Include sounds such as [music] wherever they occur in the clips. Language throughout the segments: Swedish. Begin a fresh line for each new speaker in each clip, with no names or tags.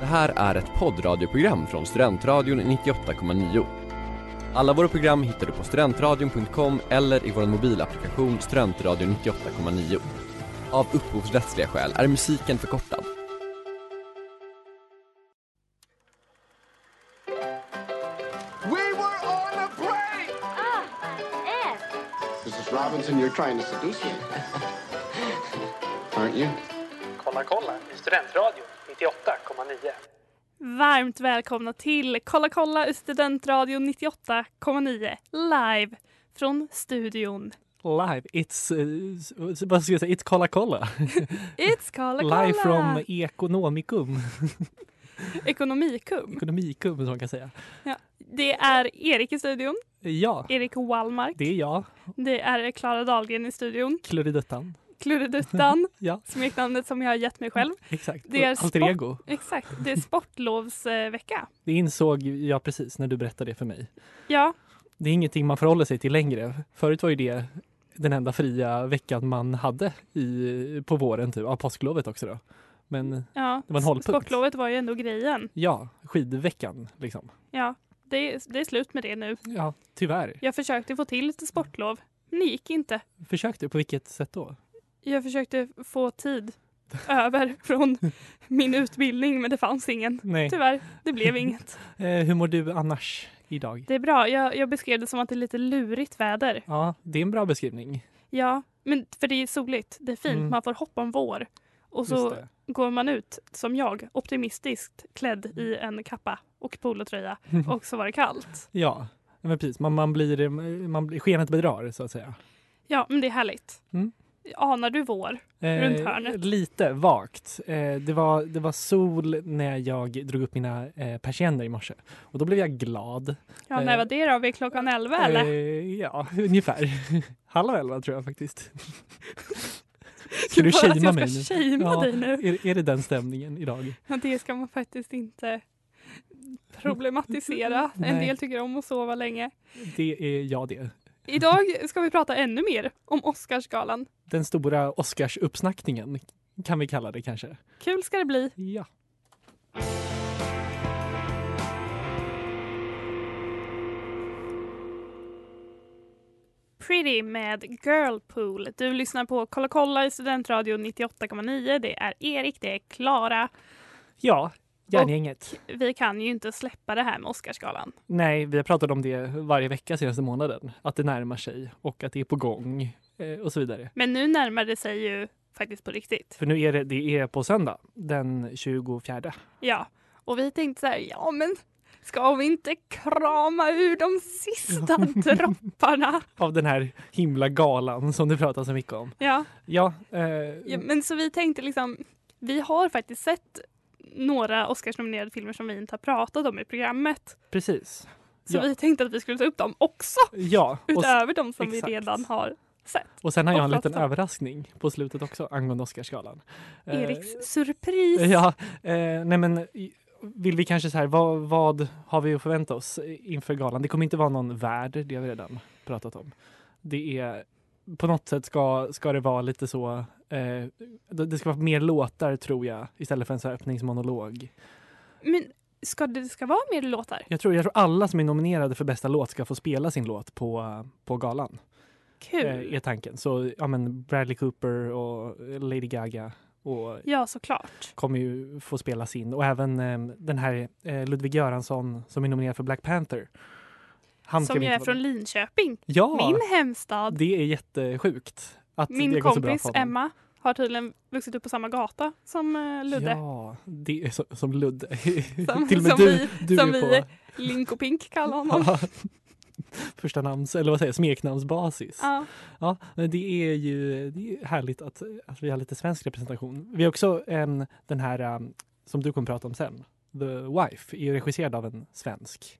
Det här är ett poddradioprogram från Studentradion 98,9. Alla våra program hittar du på studentradion.com eller i vår mobilapplikation Studentradion 98,9. Av upphovsrättsliga skäl är musiken förkortad.
We were on a break!
Mrs. Robinson, you're trying to seduce me. [laughs] Aren't you?
Kolla kolla i Studentradion 98,9.
Varmt välkomna till Kolla kolla i Studentradion 98,9 live från studion.
Live, it's, eh, s- vad ska jag säga, it's Kolla Kolla.
It's Kolla kolla!
Live from Ekonomikum,
Ekonomikum.
Ekonomikum som man kan säga.
Ja. Det är Erik i studion,
Ja,
Erik Wallmark.
det är jag,
Det är Klara Dahlgren i studion,
Kloridettan.
Kluriduttan,
[laughs] Ja,
smeknamnet som jag har gett mig själv.
exakt.
Det är
Och Alter
sport-
ego.
Exakt, det är sportlovsvecka.
Det insåg jag precis när du berättade det för mig.
Ja,
Det är ingenting man förhåller sig till längre. Förut var ju det den enda fria veckan man hade i, på våren, typ. Ja, påsklovet också då. Men
ja.
Det var en hållpunkt.
sportlovet var ju ändå grejen.
ja, skidveckan liksom.
Ja, det är, det är slut med det nu.
Ja, tyvärr.
Jag försökte få till lite sportlov, men det gick inte.
Försökte du? På vilket sätt då?
Jag försökte få tid över från min utbildning men det fanns ingen.
Nej.
Tyvärr, det
[laughs]
blev inget.
Eh, hur mår du annars idag?
Det är bra, jag, jag beskrev det som att det är lite lurigt väder.
Ja, det är en bra beskrivning.
Ja, men för det är soligt, det är fint,
Mm.
man får hopp om vår. Och
Just
så
det.
går man ut, som jag, optimistiskt klädd i
Mm.
en kappa och
[laughs]
polotröja och så var det kallt.
Ja, men precis. Man, man blir, man blir, skenet bedrar så att säga.
Ja, men det är härligt.
Mm.
Anar du vår? Runt hörnet.
Eh, Lite vagt. Eh, det, var, det var sol när jag drog upp mina eh, persienner i morse och då blev jag glad.
Ja,
Eh,
när var det då? Vid klockan elva eller?
Eh, ja, ungefär. [laughs] Halv elva tror
[laughs]
jag faktiskt. Ska du
Gud, vad att [laughs]
shamea
jag
mig
ska
nu?
shamea
Ja.
dig nu.
Är, är det den stämningen idag?
Ja, det ska man faktiskt inte problematisera. En
Nej.
del tycker om att sova länge.
Det är jag det.
Idag ska vi prata ännu mer om Oscarsgalan.
Den stora Oscarsuppsnackningen kan vi kalla det kanske.
Kul ska det bli.
Ja.
Pretty med Girlpool. Du lyssnar på Kolla kolla i Studentradion 98,9. Det är Erik, det är Klara.
Ja, järngänget.
Vi kan ju inte släppa det här med Oscarsgalan.
Nej, vi har pratat om det varje vecka senaste månaden. Att det närmar sig och att det är på gång eh, och så vidare.
Men nu närmar det sig ju faktiskt på riktigt.
För nu är det, det är på söndag den 24.
Ja, och vi tänkte så här, ja men ska vi inte krama ur de sista dropparna?
Av den här himla galan som du pratar så mycket om.
Ja,
Ja, eh,
ja, men så vi tänkte liksom, vi har faktiskt sett några Oscarsnominerade filmer som vi inte har pratat om i programmet.
precis.
Så
Ja.
vi tänkte att vi skulle ta upp dem också,
Ja, och, s-
utöver de som
exakt.
vi redan har sett.
och sen har jag en
och
liten
prata.
överraskning på slutet också angående Oscarsgalan. Eh,
Eriks surpris.
Ja, eh, nej men i- vill vi kanske så här, vad, vad har vi att förvänta oss inför galan? Det kommer inte vara någon värd, det har vi redan pratat om. Det är, på något sätt ska, ska det vara lite så, eh, det det ska vara mer låtar tror jag, istället för en så här öppningsmonolog.
Men ska det ska vara mer låtar?
Jag tror, jag tror alla som är nominerade för bästa låt ska få spela sin låt på, på galan, eh,
Kul.
är tanken. Så ja men Bradley Cooper och Lady Gaga och
Ja, såklart.
kommer ju få spelas in. Och även eh, den här eh, Ludvig Göransson som är nominerad för Black Panther. Han ska
Som
vi
ju
inte
är
vara-
från Linköping,
ja,
min hemstad.
Det är jättesjukt. Att det
Min
går så bra
kompis
för honom.
Emma har tydligen vuxit upp på samma gata som eh, Ludde.
Ja, det är så, som Ludde.
Som-
[laughs] Till och med
som
du, du
som
är
vi
på [laughs]
Link och Pink kallar honom.
första namns, eller vad säger jag, smeknamnsbasis.
ja.
Ja, men det är ju det är härligt att, att vi har lite svensk representation. Vi har också em, den här em, som du kommer prata om sen. The Wife är ju regisserad av en svensk.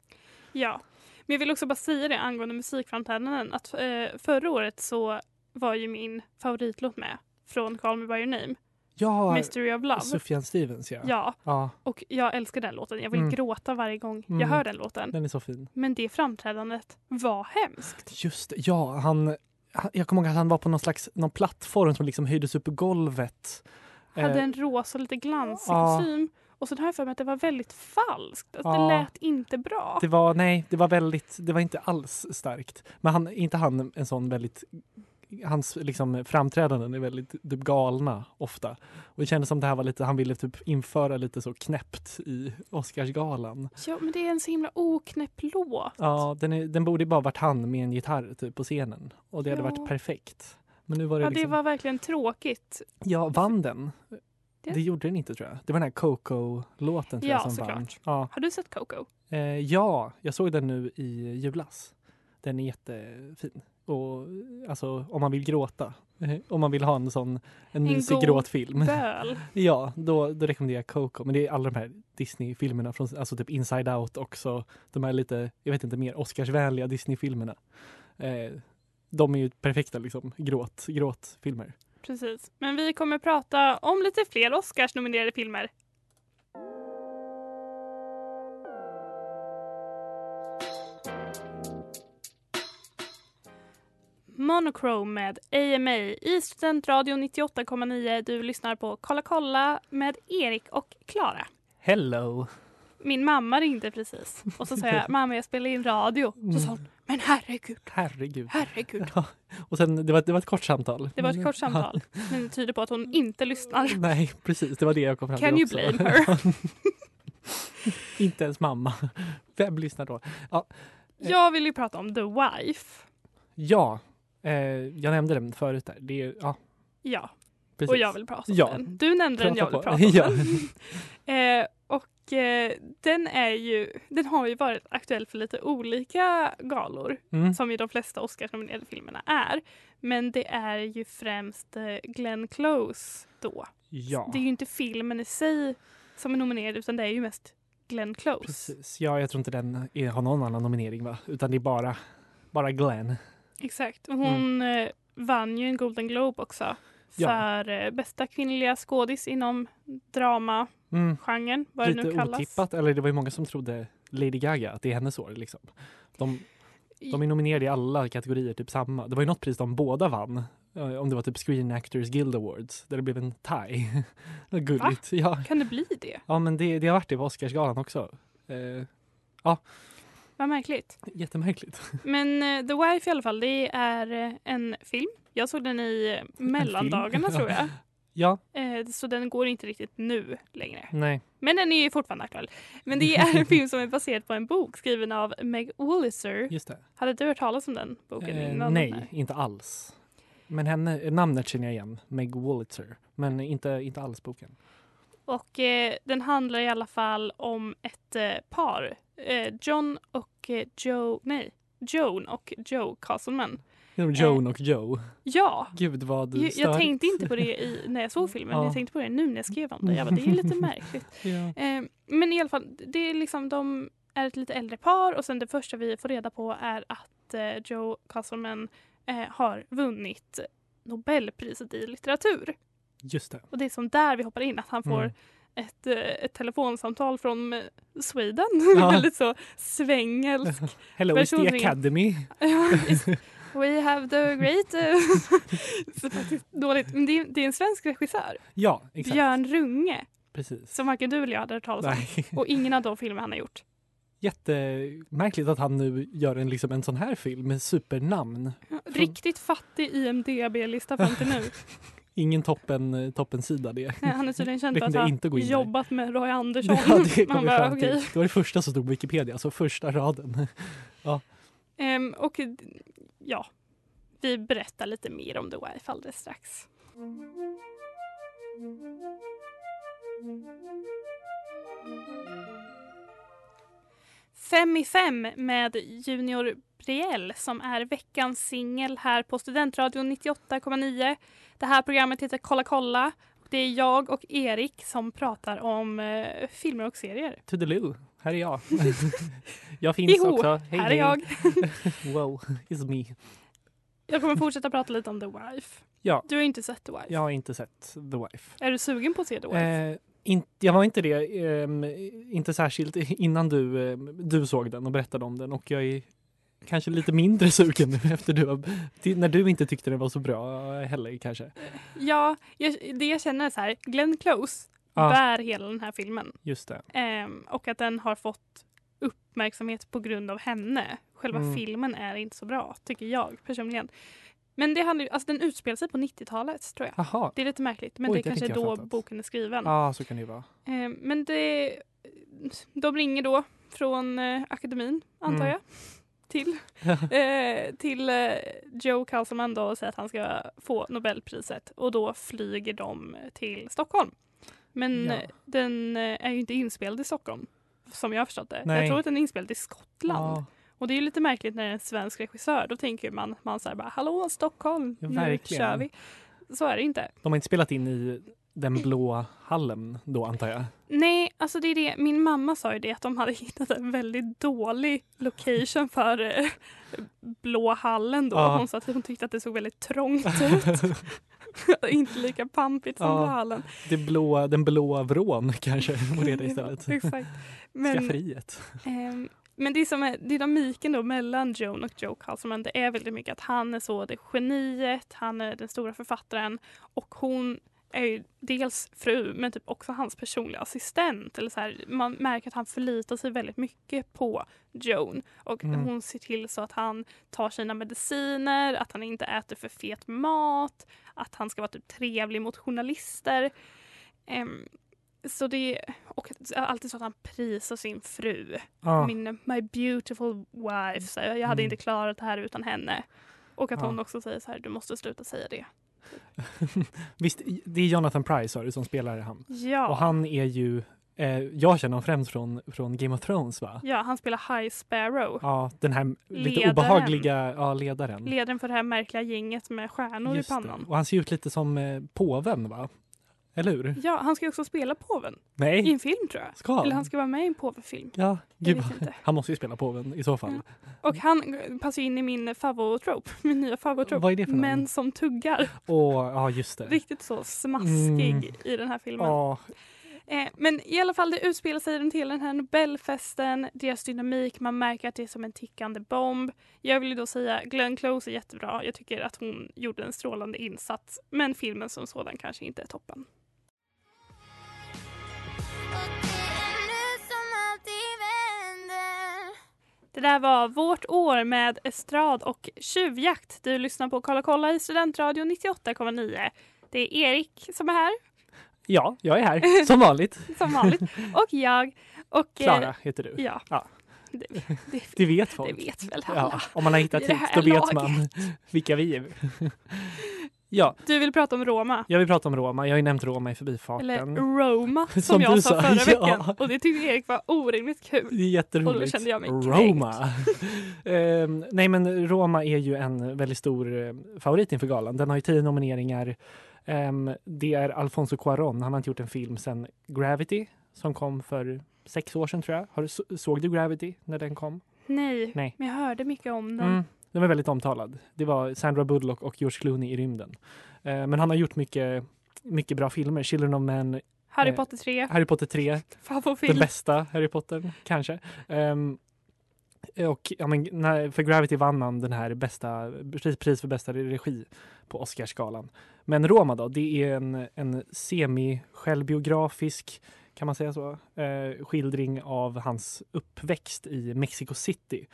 ja. Men jag vill också bara säga det angående musikframträdanden att eh, förra året så var ju min favoritlåt med från Call Me By Your Name,
Ja,
Mystery of Love.
Sufjan Stevens ja.
Ja,
Ja,
och jag älskar den låten. Jag vill
Mm.
gråta varje gång jag
Mm.
hör den låten.
den är så fin.
Men det framträdandet var hemskt.
Just det, ja, han, han- jag kommer ihåg att han var på någon slags någon plattform som liksom höjdes upp i golvet.
Hade
Eh,
en rosa och lite glansig
ja.
kostym Och sen har jag för mig att det var väldigt falskt. Alltså,
Ja.
Det lät inte bra.
Det var, nej, det var väldigt, det var inte alls starkt. Men han, inte han en sån väldigt, hans liksom framträdanden är väldigt typ galna ofta. Och det kändes som det här var lite, han ville typ införa lite så knäppt i Oscarsgalan.
Ja, men det är en så himla oknäpp låt.
Ja, den, är, den borde ju bara varit han med en gitarr typ på scenen. Och det
Ja.
hade varit perfekt. Men nu var det
Ja, det
liksom,
var verkligen tråkigt.
ja, vann den?
Det-
Det gjorde den inte tror jag. Det var den här Coco-låten tror
Ja,
jag som vann.
såklart.
Ja,
Har du sett Coco?
Eh, ja, jag såg den nu i julas. Den är jättefin. Och alltså om man vill gråta, [laughs] eh, om man vill ha en sån en
En
mysig
god
gråtfilm. [laughs]
Böl.
Ja, då, då rekommenderar jag Coco. Men det är alla de här Disney-filmerna, från, alltså typ Inside Out också. De här lite, jag vet inte, mer Oscarsvänliga Disney-filmerna. Eh, de är ju perfekta liksom, gråt, gråtfilmer.
Precis. Men vi kommer prata om lite fler Oscars-nominerade filmer. Monochrome med AMA i Studentradion 98,9. Du lyssnar på Kolla kolla med Erik och Klara.
Hello!
Min mamma ringde precis och så sa jag mamma jag spelar in radio. Så sa hon men herregud,
Herregud.
herregud.
Och sen, det var, det var ett kort samtal.
Det var ett
Men-
kort samtal men det tyder på att hon inte lyssnar.
Nej, precis. Det var det jag kom fram till
Can you
också. [laughs]
blame her?
Inte ens mamma. Vem lyssnar då? Eh.
Jag vill ju prata om The Wife.
Ja, eh, jag nämnde den förut där. Det är, ja,
Ja,
precis.
och jag vill prata om
Ja.
den. Du nämnde den, jag vill
Prata
prata
på.
om
[laughs] Ja.
den. Eh, och eh, den är ju, den har ju varit aktuell för lite olika galor
Mm.
som ju de flesta Oscarsnominerade filmerna är. Men det är ju främst eh, Glenn Close då.
Ja,
Det är ju inte filmen i sig som är nominerad utan det är ju mest Glenn Close.
precis. Ja, jag tror inte den är, har någon annan nominering, va? Utan det är bara, bara Glenn.
Exakt.
Mm.
Och Hon eh, vann ju en Golden Globe också
Ja.
för eh, bästa kvinnliga skådis inom dramagenren,
Mm.
vad det
Lite
nu kallas.
otippat. Eller det var ju många som trodde Lady Gaga, att det är hennes år. Liksom. De, de är nominerade i alla kategorier, typ samma. Det var ju något pris de båda vann. Eh, Om det var typ Screen Actors Guild Awards, där det blev en tie. [laughs] Vad Gulligt. Ja,
Kan det bli det?
Ja, men det, det har varit det på Oscarsgalan också. Eh,
Vad märkligt.
jättemärkligt. [laughs]
Men eh, The Wife i alla fall, det är eh, en film. Jag såg den i eh,
[laughs]
mellandagarna tror jag.
Ja,
Eh, Så den går inte riktigt nu längre.
nej.
Men den är ju fortfarande aktuell. Men det är en film som är baserad på en bok skriven av Meg Wolitzer.
Just det.
Hade du hört talas om den boken
Eh,
innan?
nej, inte alls. Men henne, namnet känner jag igen, Meg Wolitzer. Men inte, inte alls boken.
Och eh, den handlar i alla fall om ett eh, par. Eh, John och eh, Joe, nej, Joan och Joe Castleman.
Joan och Joe.
Ja,
Gud vad
Eh. jag, jag
störigt.
tänkte inte på det i, när jag såg filmen.
[laughs] Ja.
Jag tänkte på det nu när jag skrev om det. Jag bara, det är
[laughs]
lite märkligt.
Ja.
Eh, men i alla fall, det är liksom de är ett lite äldre par och sen det första vi får reda på är att eh, Joe Castleman eh, har vunnit Nobelpriset i litteratur.
Just det.
Och det är som där vi hoppar in, att han får
Mm.
ett, eh, ett telefonsamtal från eh,
[laughs]
Sweden.
Ja.
Väldigt så svängelsk.
[laughs] Hello, it's
Person
the
ring.
Academy.
Ja, is- We have the great... eh, [laughs] så faktiskt dåligt. Men det, är, det är en svensk regissör,
Ja, exakt.
Björn Runge,
Precis.
som varken du eller jag hade hört talas om.
Nej.
[laughs] Och ingen av de filmer han har gjort.
Jättemärkligt att han nu gör en, liksom, en sån här film med supernamn.
Riktigt fattig IMDB-lista fram till
[laughs]
nu.
Ingen toppen, eh, toppensida det.
Nej, Han är tydligen känd
Det
för att
kunde jag
ha
inte gå in i.
jobbat med Roy Andersson.
[laughs] Ja, det, kom
Man
vi
bara,
fram till.
okej.
det var det första som stod på Wikipedia, alltså första raden. [laughs]
Ehm, och d- ja, vi berättar lite mer om The Wife alldeles strax. Fem i fem med Junior Brielle som är veckans singel här på Studentradion 98,9. Det här programmet heter Kolla kolla. Det är jag och Erik som pratar om eh, filmer och serier.
Toodaloo, här är [laughs] jag. jag finns
Joho,
också. Hej,
här är
hej.
jag.
Wow, [laughs] it's me.
Jag kommer fortsätta prata lite om The Wife.
Ja.
Du har ju inte sett The Wife.
Jag har inte sett The Wife.
Är du sugen på att se The Wife?
Eh, in, jag var inte det, ehm, inte särskilt innan du, ehm, du såg den och berättade om den och jag är kanske lite mindre sugen nu [laughs] efter du, har- till- när du inte tyckte den var så bra heller kanske.
Ja, jag, det jag känner är så här, Glenn Close,
Ja.
bär hela den här filmen.
Just det.
Ehm, och att den har fått uppmärksamhet på grund av henne. Själva
Mm.
filmen är inte så bra, tycker jag personligen. Men det handlar ju, alltså den utspelar sig på 90-talet tror jag.
Jaha.
Det är lite märkligt, men
Oj,
det
det
kanske är
tyckte jag
då
fattat.
boken är skriven.
Ja, så kan det ju vara.
Eh, men det, de ringer då från eh, akademin, antar
Mm.
jag, till, [laughs] eh, till eh, Joe Kalsman då och säger att han ska få Nobelpriset. Och då flyger de till Stockholm. Men
Ja.
eh, den eh, är ju inte inspelad i Stockholm, som jag har förstått det. Jag
Nej.
tror att den är inspelad i Skottland.
Ja,
Och det är ju lite märkligt när det är en svensk regissör. Då tänker man, man så här bara, hallå Stockholm,
Ja,
nu
verkligen.
kör vi. Så är det ju inte.
de har inte spelat in i den blå hallen då antar jag.
Nej, alltså det är det. Min mamma sa ju det att de hade hittat en väldigt dålig location för eh, Blå hallen då.
Ja.
Hon sa att hon tyckte att det såg väldigt trångt
[laughs]
ut. [laughs] Inte lika pampigt som
Ja,
Blå hallen.
Det blå, den blåa vrån [laughs] kanske borde heta istället.
Ja, exakt. [laughs] Men,
Skafferiet.
ehm, men det är som är dynamiken då mellan Joan och Joe Carlsman. Det är väldigt mycket att han är så det geniet, han är den stora författaren och hon är ju dels fru men typ också hans personliga assistent. Eller så här, man märker att han förlitar sig väldigt mycket på Joan. Och
Mm.
Hon ser till så att han tar sina mediciner, att han inte äter för fet mat, att han ska vara typ trevlig mot journalister. Ehm, så det, och alltid så att han prisar sin fru.
Ja,
Min, my beautiful wife. Så här, jag hade
Mm.
inte klarat det här utan henne. Och att
Ja.
hon också säger så här, du måste sluta säga det.
visst, det är Jonathan Price sa du som spelar han.
Ja.
Och han är ju, eh, jag känner honom främst från, från Game of Thrones va?
Ja, han spelar High Sparrow.
Ja, den här lite
Ledaren.
obehagliga ja, ledaren.
Ledaren för det här märkliga gänget med stjärnor
Just
i pannan.
Det. Och han ser ut lite som eh, påven va? Eller hur?
Ja, han ska ju också spela påven Mm. i
Nej,
en film tror jag.
ska
Eller han ska vara med i en påvefilm.
Ja,
Jag
gud
vet
vad-
inte.
Han måste ju spela påven i så fall.
Och han eh, passar ju in i min favotrop, [laughs] min nya favotrop.
Vad är det för
Män
namn?
som
[laughs]
tuggar.
Och, ja, just det.
Riktigt så smaskig
Mm.
i den här filmen.
Ja,
Eh, men i alla fall, det utspelar sig runt hela den här Nobelfesten, deras dynamik, man märker att det är som en tickande bomb. Jag vill ju då säga Glenn Close är jättebra, jag tycker att hon gjorde en strålande insats, men filmen som sådan kanske inte är toppen. Det där var Vårt år med Estrad och Tjuvjakt. Du lyssnar på Kolla kolla i Studentradion 98,9. Det är Erik som är här,
ja, jag
[laughs]
är här. Som vanligt.
som
[laughs]
vanligt, och jag. Och, eh,
Klara heter du.
Ja.
Ja.
Det,
[laughs]
det,
Det vet folk.
det vet väl alla.
Ja, om man har hittat
I det
hit,
här
då
laget.
vet man vilka vi är. [laughs] Ja,
Du vill prata om Roma.
jag vill prata om Roma. Jag har ju nämnt Roma i förbifarten.
Eller oh,
[laughs]
Roma som,
Som
jag
du
sa
sa,
förra
[laughs] ja.
veckan. Och det tyckte Erik var orimligt kul.
Det är jätteroligt.
Och då kände jag mig kränkt.
Roma. [laughs] Ehm, nej, men Roma är ju en väldigt stor eh, favorit inför galan. Den har ju tio nomineringar. Ehm, det är Alfonso Cuarón. Han har inte gjort en film sedan Gravity som kom för sex år sedan tror jag. Har, du- så- såg du Gravity när den kom?
Nej,
Nej.
men jag hörde mycket om den.
Mm. Den var väldigt omtalad. Det var Sandra Bullock och George Clooney i rymden. Eh, men han har gjort mycket, mycket bra filmer. Children of Men,
Harry
Eh,
Potter 3,
Harry Potter 3, den
favoritfilm.
bästa Harry Potter kanske. Ehm, och ja, men, när, för Gravity vann han den här bästa, pris- pris för bästa regi på Oscarsgalan. Men Roma då, det är en, en semi-självbiografisk, kan man säga så, eh, skildring av hans uppväxt i Mexico City.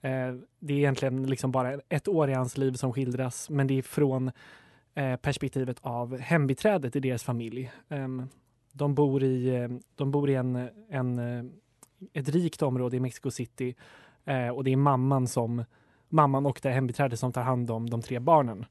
Eh, det är egentligen liksom bara ett år i hans liv som skildras, men det är från eh, perspektivet av hembiträdet i deras familj. Ehm, de bor i, eh, de bor i en, en, eh, ett rikt område i Mexico City eh, och det är mamman, som, mamman och det här hembiträdet som tar hand om de tre barnen.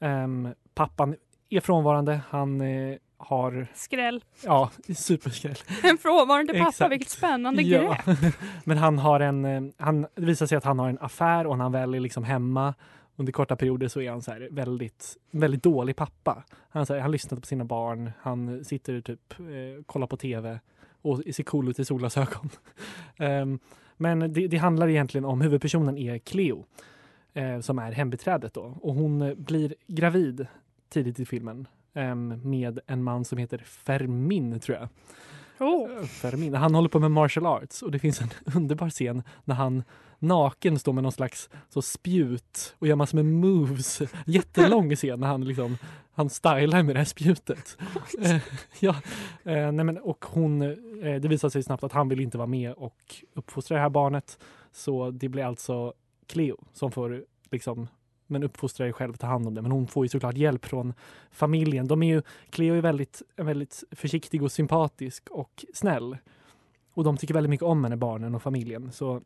Ehm, pappan är frånvarande. Han eh, har,
Skräll.
ja, [laughs] superskräll.
En frånvarande pappa,
Exakt.
vilket spännande
Ja.
grepp.
[laughs] Men han har en, eh, han, det visar sig att han har en affär och när han väl är liksom hemma under korta perioder så är han så här väldigt, väldigt dålig pappa. Han, så här, han lyssnar inte på sina barn, han sitter typ, eh, kollar på tv och ser cool ut i solglasögon. [laughs] Ehm, men det, det handlar egentligen om, huvudpersonen är Cleo eh, som är hembiträdet då och hon eh, blir gravid tidigt i filmen ehm, med en man som heter Fermin tror jag.
Oh.
Fermin. Han håller på med martial arts och det finns en [laughs] underbar scen när han naken står med någon slags så spjut och gör massor med moves. Jättelång scen när han liksom han stylar med det här spjutet. Eh, ja, eh, nej men, och hon, eh, det visar sig snabbt att han vill inte vara med och uppfostra det här barnet. Så det blir alltså Cleo som får liksom men uppfostra dig själv, ta hand om det. Men hon får ju såklart hjälp från familjen. De är ju, Cleo är väldigt, är väldigt försiktig och sympatisk och snäll. Och de tycker väldigt mycket om henne, barnen och familjen. Så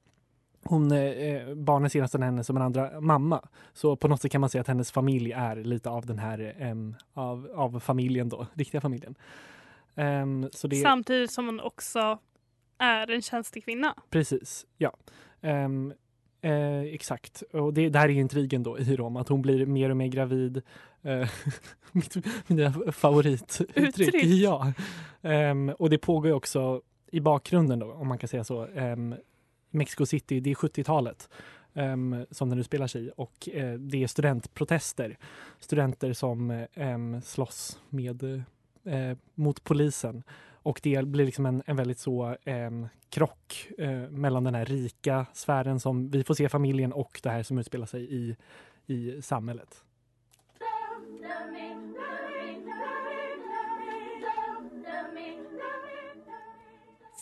hon, eh, barnen ser nästan henne som en andra mamma. Så på något sätt kan man säga att hennes familj är lite av den här, em, av, av familjen då, riktiga familjen. Em, så det,
Samtidigt som hon också är en tjänstekvinna.
Precis, ja. Ehm, eh, exakt. Och det, det här är intrigen då i Rom, att hon blir mer och mer gravid. Eh, [laughs] mitt, mina favorituttryck.
Uttryck.
Ja. Ehm, och det pågår ju också i bakgrunden då, om man kan säga så, ehm, Mexico City, det är 70-talet ehm, som den nu spelar sig i och eh, det är studentprotester. Studenter som eh, ehm, slåss med, eh, mot polisen. Och det blir liksom en, en väldigt så ehm, krock eh, mellan den här rika sfären som vi får se familjen och det här som utspelar sig i, i samhället.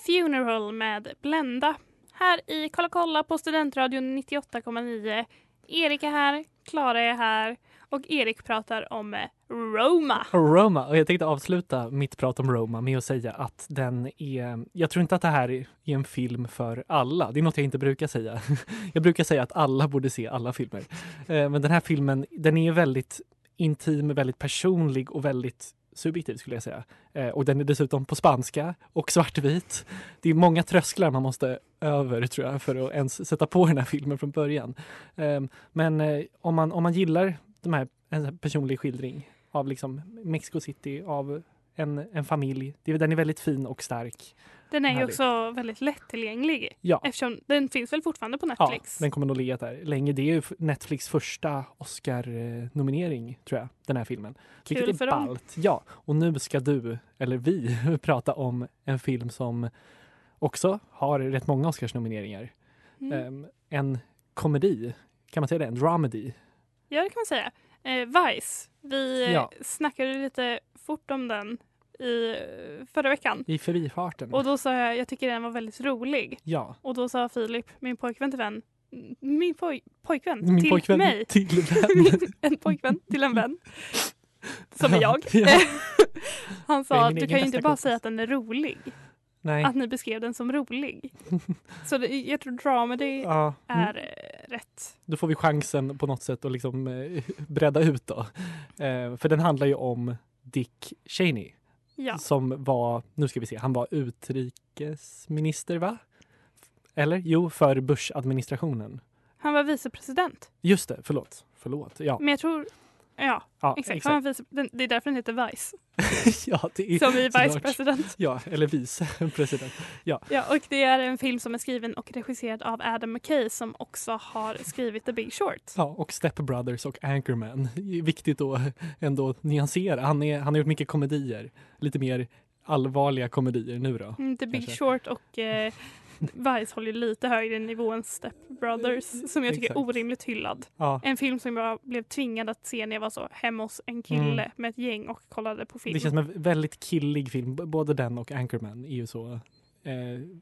Funeral med Blenda. Här i Kolla kolla på Studentradion 98,9. Erik är här, Klara är här och Erik pratar om eh, Roma.
Roma, och jag tänkte avsluta mitt prat om Roma med att säga att den är... Jag tror inte att det här är en film för alla. Det är något jag inte brukar säga. [laughs] Jag brukar säga att alla borde se alla filmer. Eh, Men den här filmen, den är väldigt intim, väldigt personlig och väldigt subjektiv skulle jag säga. Eh, Och den är dessutom på spanska och svartvit. Det är många trösklar man måste över tror jag för att ens sätta på den här filmen från början. Eh, Men eh, om man, om man gillar de här, en sån här personlig skildring av liksom Mexico City, av en, en familj. Det är- Den är väldigt fin och stark.
Den är ju
Härligt.
också väldigt lättillgänglig
Ja,
eftersom den finns väl fortfarande på
ja
Netflix.
den kommer nog ligga där länge. Det är ju f- Netflix första Oscar-nominering, tror jag, den här filmen.
Kul
Vilket är
för dem.
ballt. Ja, och nu ska du, eller vi, [laughs] prata om en film som också har rätt många Oscars-nomineringar.
Mm.
Ehm, en komedi, kan man säga det? En dramedy.
Ja, det kan man säga. Eh, Vice. Vi eh,
Ja.
snackade lite fort om den i eh, förra veckan.
I förbifarten.
Och då sa jag, jag tycker den var väldigt rolig.
ja.
Och då sa Filip, min pojkvän till vän, min poj- pojkvän
Min
till
pojkvän
mig.
[laughs] till vän.
Min- [laughs] en pojkvän till en
[laughs]
vän. Som är jag.
Ja.
[laughs] Han
Jag är
sa,
min
du
egen
kan ju
bästa
inte bara
kompis."
säga att den är rolig.
Nej.
Att ni beskrev den som
[laughs]
rolig. Så det, jag tror dramedy
Ja. mm.
är eh, rätt.
då får vi chansen på något sätt att liksom eh, [laughs] bredda ut då. Eh, för den handlar ju om Dick Cheney
Ja,
som var, nu ska vi se, han var utrikesminister va? Eller? Jo, för Bush-administrationen.
han var vicepresident.
Just det, förlåt. Förlåt. Ja,
Men jag tror, ja
ja
Mm, exakt. [laughs] Han var vice, den, det är därför den heter
[laughs]
Vice.
ja, det är,
Som i
såklart.
vicepresident.
Ja, eller vice [laughs] president.
Ja, och det är en film som är skriven och regisserad av Adam McKay som också har skrivit The Big Short.
Ja, och Step Brothers och Anchorman. Viktigt att ändå nyansera. Han, är, han har gjort mycket komedier. Lite mer allvarliga komedier nu då.
Mm, The Big
Kanske.
Short och eh, Vice håller ju lite högre nivå än Step Brothers som jag tycker är
Mm, Exakt.
orimligt hyllad.
Ja,
En film som jag blev tvingad att se när jag var så hemma hos en kille
Mm.
med ett gäng och kollade på film.
Det känns som en väldigt killig film. B- Både den och Anchorman är ju så, eh,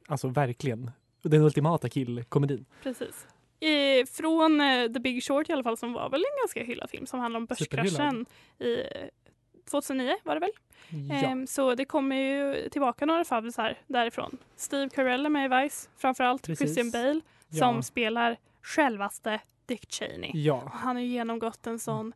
alltså verkligen den ultimata killkomedin.
Precis. Eh, från eh, The Big Short i alla fall som var väl en ganska hyllad film som handlar om
Superhyllad.
börskraschen i eh, 2009 var det väl?
Ja.
Ehm, så det kommer ju tillbaka några fabbisar därifrån. Steve Carell är med i Vice framförallt.
Precis.
Christian Bale
Ja.
som spelar självaste Dick Cheney.
ja,
Och Han har ju genomgått en sån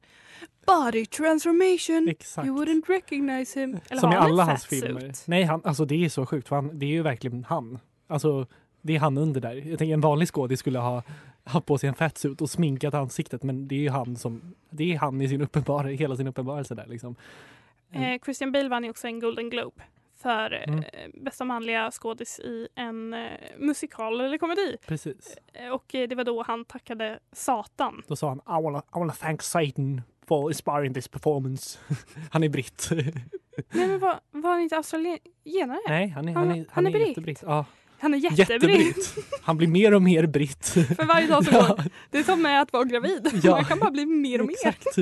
body transformation.
exakt.
You wouldn't recognize him. Eller
Som i
har han
alla
en
hans
fatsuit?
filmer. Nej, han, alltså det är så sjukt. För han, det är ju verkligen han. Alltså, det är han under där. Jag tänker en vanlig skådis skulle ha haft på sig en fatsuit och sminkat ansiktet men det är ju han som, det är han i sin uppenbar, hela sin uppenbarelse där liksom.
Eh, Christian Bale vann ju också en Golden Globe för
Mm.
eh, bästa manliga skådis i en eh, musikal eller komedi.
Precis.
Eh, Och eh, det var då han tackade
[gasps]
Satan.
Då sa han I wanna, I wanna thank Satan for inspiring this performance. [laughs] han är britt.
Nej men var, var han inte australienare?
Nej, han är,
Han-
han är,
han
han
är
är,
britt.
jättebritt. Ja,
Han är
[laughs]
jättebritt.
jättebritt. Han blir mer och
[laughs]
mer britt.
För varje dag som går. Det är som med att vara gravid.
Ja.
Man kan bara bli mer och mer.
Exakt.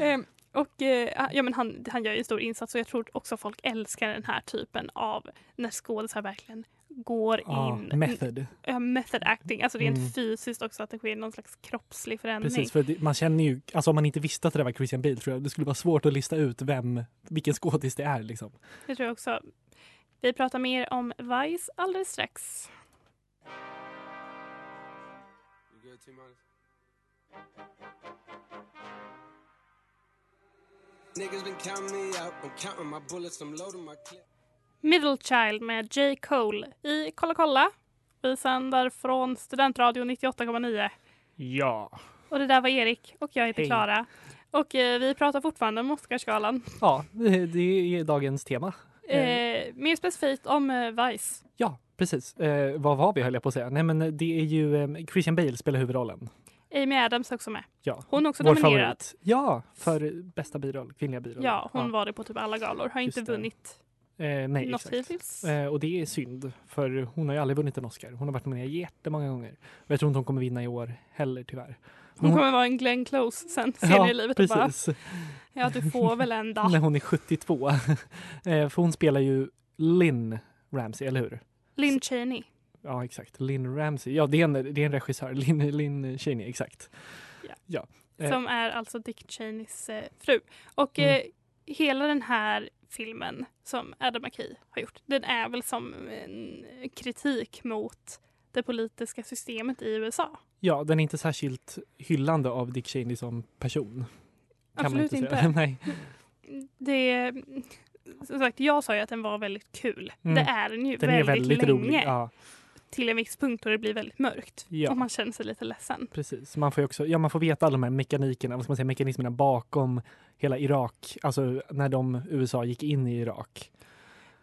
Eh, och eh, ja, men han, han gör ju en stor insats och jag tror också folk älskar den här typen av när skådisar verkligen går
Ja,
in.
method.
Ja, method acting, alltså rent
Mm.
fysiskt också att det sker någon slags kroppslig förändring.
Precis, för det, man känner ju, alltså om man inte visste att det där var Christian Bale tror jag det skulle vara svårt att lista ut vem, vilken skådis det är liksom.
Det tror jag också. Vi pratar mer om Vice alldeles strax.
Niggas been counting me out. I'm counting my bullets. I'm loading my clip.
Middle Child med J. Cole i Kolla kolla. Vi sänder från Studentradio 98,9.
Ja.
Och det där var Erik och jag heter
Hej.
Klara. Och eh, vi pratar fortfarande om Oscarsgalan.
Ja, det det är dagens tema.
Eh, mer specifikt om eh, Vice.
Ja, precis. Eh, vad var vi höll jag på att säga? Nej men det är ju, eh, Christian Bale spelar huvudrollen.
Amy Adams är också med.
Ja.
Hon är också
Vår
nominerad.
favorit. Ja, för bästa biroll, kvinnliga biroll.
Ja, hon var det på typ alla galor. Har
Just
inte
det.
vunnit
Eh, nej,
något
exakt.
hittills.
Eh, och det är synd, för hon har ju aldrig vunnit en Oscar. Hon har varit nominerad jättemånga gånger. Och jag tror inte hon kommer vinna i år heller tyvärr.
Hon
hon-
kommer vara en Glenn Close
[laughs]
sen senare i livet. Och bara,
precis.
ja, du
[laughs]
får väl en dag.
När hon är 72. [laughs] eh, för hon spelar ju Lynn Ramsey, eller hur?
Lynn Cheney.
Ja, exakt. Lynn Ramsey. Ja, det är en, det är en regissör. [laughs] Lynn, Lynn Cheney, exakt. Eh.
Som är alltså Dick Cheneys eh, fru. Och
Mm.
eh, hela den här filmen som Adam McKay har gjort, den är väl som en kritik mot det politiska systemet i USA.
Ja, den är inte särskilt hyllande av Dick Cheney som person. Kan
Absolut
man
inte.
inte. Säga. [laughs] Nej.
Det, som sagt, jag sa ju att den var väldigt kul.
Mm.
Det är den ju
Den
väldigt,
är väldigt
länge.
rolig. Ja,
Till en viss punkt då det blir väldigt mörkt
Ja.
och man känner sig lite ledsen.
precis. Man får ju också, ja, man får veta alla de här mekanikerna, vad ska man säga, mekanismerna bakom hela Irak, alltså när de, USA gick in i Irak.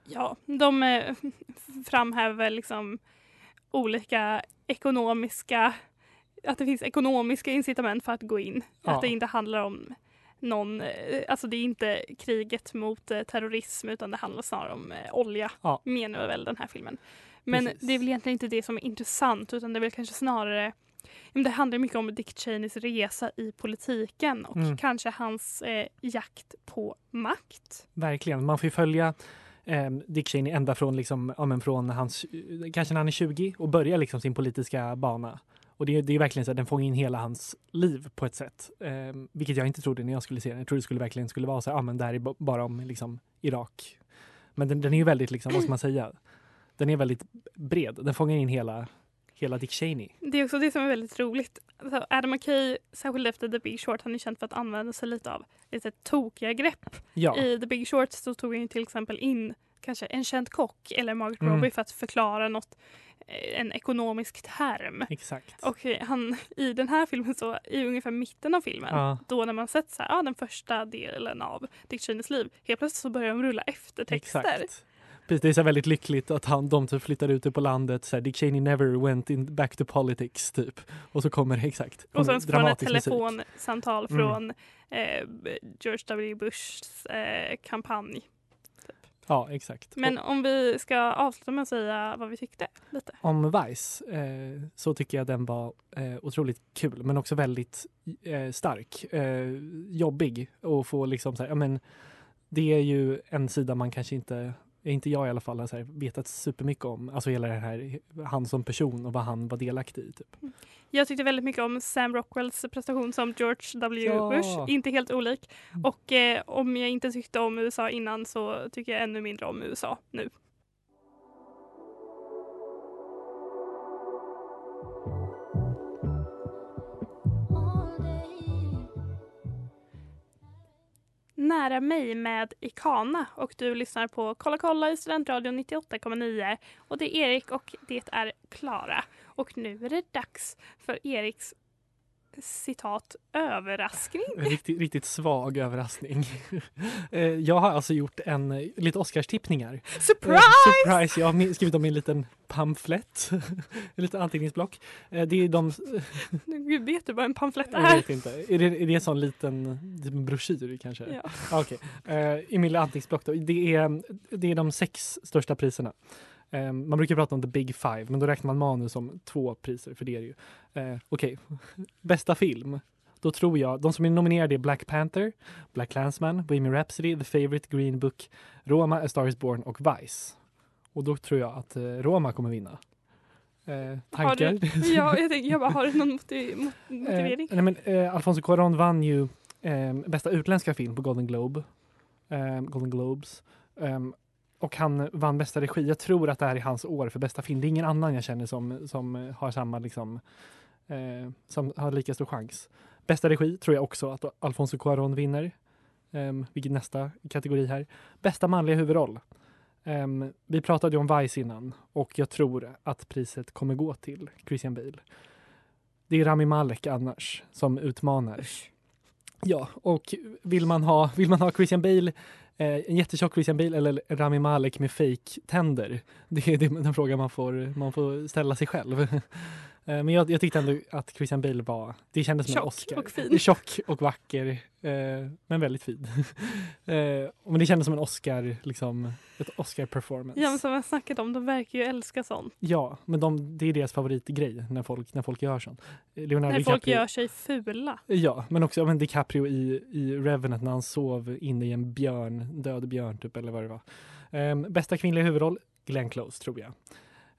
Ja, de eh, framhäver liksom olika ekonomiska, att det finns ekonomiska incitament för att gå in.
Ja.
Att det inte handlar om någon, eh, alltså det är inte kriget mot eh, terrorism utan det handlar snarare om eh, olja,
Ja.
menar väl den här filmen. Men
Precis.
det är väl egentligen inte det som är intressant utan det är väl kanske snarare, ja, men det handlar mycket om Dick Cheneys resa i politiken och
Mm.
kanske hans eh, jakt på makt.
Verkligen. Man får ju följa eh, Dick Cheney ända från, liksom, ja, men från hans, kanske när han är 20 och börjar liksom sin politiska bana. Och det, är- det är verkligen så att den fångar in hela hans liv på ett sätt. Eh, vilket jag inte trodde när jag skulle se den. Jag trodde det skulle verkligen skulle vara så här, ja men det här är ba- bara om liksom, Irak. Men den, den är ju väldigt, liksom, vad ska man säga, den är väldigt bred. Den fångar in hela, hela Dick Cheney.
Det är också det som är väldigt roligt. Alltså Adam McKay, särskilt efter The Big Short, han är känd för att använda sig lite av lite tokiga grepp.
Ja,
I The Big Short så tog han ju till exempel in kanske en känd kock eller Margaret
Mm.
Robbie för att förklara något, eh, en ekonomisk term.
exakt.
Och eh, han, i den här filmen, så i ungefär mitten av filmen,
Ja.
då när man sett så här, ja, den första delen av Dick Cheneys liv, helt plötsligt så börjar de rulla eftertexter.
Exakt. Precis, det är så här väldigt lyckligt att han, de typ flyttar ut det på landet. Så här, Dick Cheney never went in back to politics, typ. Och så kommer [laughs] det exakt.
Och sen så får man ett
dramatisk musik.
telefonsamtal
Mm.
från eh, George W. Bushs eh, kampanj.
Ja, exakt.
Men om vi ska avsluta med att säga vad vi tyckte lite.
Och om Vice eh, så tycker jag den var eh, otroligt kul, men också väldigt eh, stark. Eh, jobbig och få liksom så här, ja men det är ju en sida man kanske inte inte jag i alla fall har så här vetat supermycket om, alltså hela det här, han som person och vad han var delaktig i. Typ.
Jag tyckte väldigt mycket om Sam Rockwells prestation som George W.
Ja. Mm.
Bush. Inte helt olik. Och eh, om jag inte tyckte om USA innan så tycker jag ännu mindre om USA nu. Nära mig med Ikana och du lyssnar på Kolla kolla i Studentradion 98,9 och det är Erik och det är Klara. Och nu är det dags för Eriks citat
[laughs]
överraskning.
En riktigt, riktigt svag överraskning. [laughs] Eh, jag har alltså gjort en, eh, lite Oscarstippningar. Eh,
Surprise!
surprise! Jag har min- skrivit om i en liten pamflett, [laughs] en liten anteckningsblock. Eh, det är de,
Gud, vet du vad en pamflett
jag
är?
vet inte, är det, är det en sån liten, liten broschyr kanske?
Ja.
Ah, [laughs] Okej. Eh, I min lilla anteckningsblock då. Det är, det är de sex största priserna. Eh, man brukar prata om the big five, men då räknar man manus som två priser, för det är det ju. Eh, Okej. [laughs] Bästa film. Då tror jag, de som är nominerade är Black Panther, Black Klansman, Bohemian Rhapsody, The Favourite, Green Book, Roma, A Star Is Born och Vice. Och då tror jag att eh, Roma kommer vinna. Eh,
Har
tankar?
du, ja, jag, tänkte, jag bara, har du någon motiv, mot- [laughs] motivering?
[laughs] Eh, nej men, eh, Alfonso Cuarón vann ju eh, bästa utländska film på Golden Globe. Eh, Golden Globes. Ehm, och han vann bästa regi. Jag tror att det här är hans år för bästa film. Det är ingen annan jag känner som, som eh, har samma liksom, eh, som har lika stor chans. Bästa regi tror jag också att Alfonso Cuarón vinner. Ehm, vilket nästa kategori här. Bästa manliga huvudroll. Ehm, vi pratade ju om Vice innan och jag tror att priset kommer gå till Christian Bale. Det är Rami Malek annars som utmanar. Ja, och vill man ha, vill man ha Christian Bale, eh, en jättetjock Christian Bale eller Rami Malek med fake tänder [laughs] Det är det- den frågan man får, man får ställa sig själv. [laughs] Eh, Men jag, jag tyckte ändå att Christian Bale var, det kändes som en
Tjock
Oscar.
och fin.
Tjock och vacker, eh, men väldigt fin. Eh, men det kändes som en Oscar, liksom, ett Oscar-performance.
Ja, men som jag snackade om, de verkar ju älska sånt.
Ja, men de, det är deras favoritgrej när folk, när folk gör sånt. Eh, Leonardo
När folk
DiCaprio-
gör sig fula.
Ja, men också ja, men DiCaprio i, i Revenant när han sov inne i en björn, död björn typ eller vad det var. Ehm, bästa kvinnliga huvudroll, Glenn Close tror jag.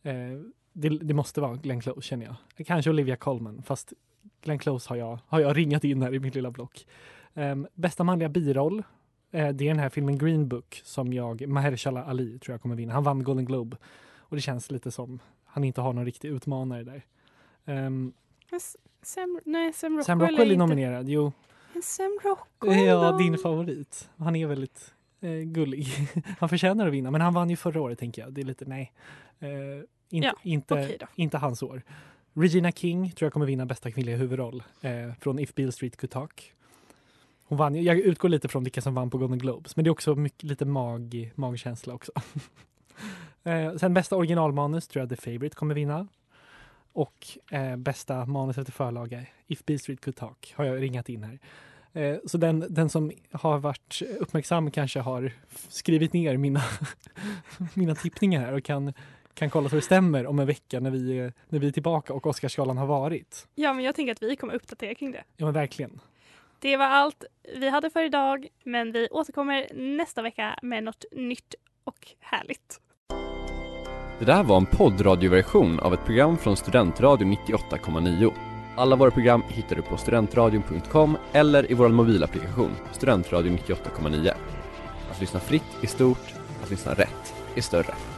Ehm, det, det måste vara Glenn Close känner jag. Kanske Olivia Colman, fast Glenn Close har jag, har jag ringat in här i mitt lilla block. Ehm, bästa manliga biroll, eh, det är den här filmen Green Book som jag, Mahershala Ali tror jag kommer vinna. Han vann Golden Globe och det känns lite som han inte har någon riktig utmanare där. Ehm,
Men S- Sam, nej, Sam Rockwell,
Sam Rockwell är
inte-
nominerad, jo.
Men Sam Rockwell
Ja,
då?
din favorit. Han är väldigt eh, gullig. [laughs] Han förtjänar att vinna, men han vann ju förra året tänker jag. Det är lite nej. Eh, inte,
Ja,
inte,
okej då.
inte hans år. Regina King tror jag kommer vinna bästa kvinnliga huvudroll eh, från If Beale Street Could Talk. Hon vann, ju- jag utgår lite från vilka som vann på Golden Globes, men det är också mycket, lite mag, magkänsla också. [laughs] eh, sen bästa originalmanus tror jag The Favourite kommer vinna. Och eh, bästa manus efter förlaga, If Beale Street Could Talk, har jag ringat in här. Eh, Så den, den som har varit uppmärksam kanske har skrivit ner mina, [laughs] mina tippningar här och kan, kan kolla så det stämmer om en vecka när vi, är- när vi är tillbaka och Oscarsgalan har varit.
Ja, men jag tänker att vi kommer uppdatera kring det.
Ja men verkligen.
Det var allt vi hade för idag, men vi återkommer nästa vecka med något nytt och härligt.
Det där var en poddradioversion av ett program från Studentradion 98,9. Alla våra program hittar du på studentradion.com eller i vår mobilapplikation Studentradion 98,9. Att lyssna fritt är stort, att lyssna rätt är större.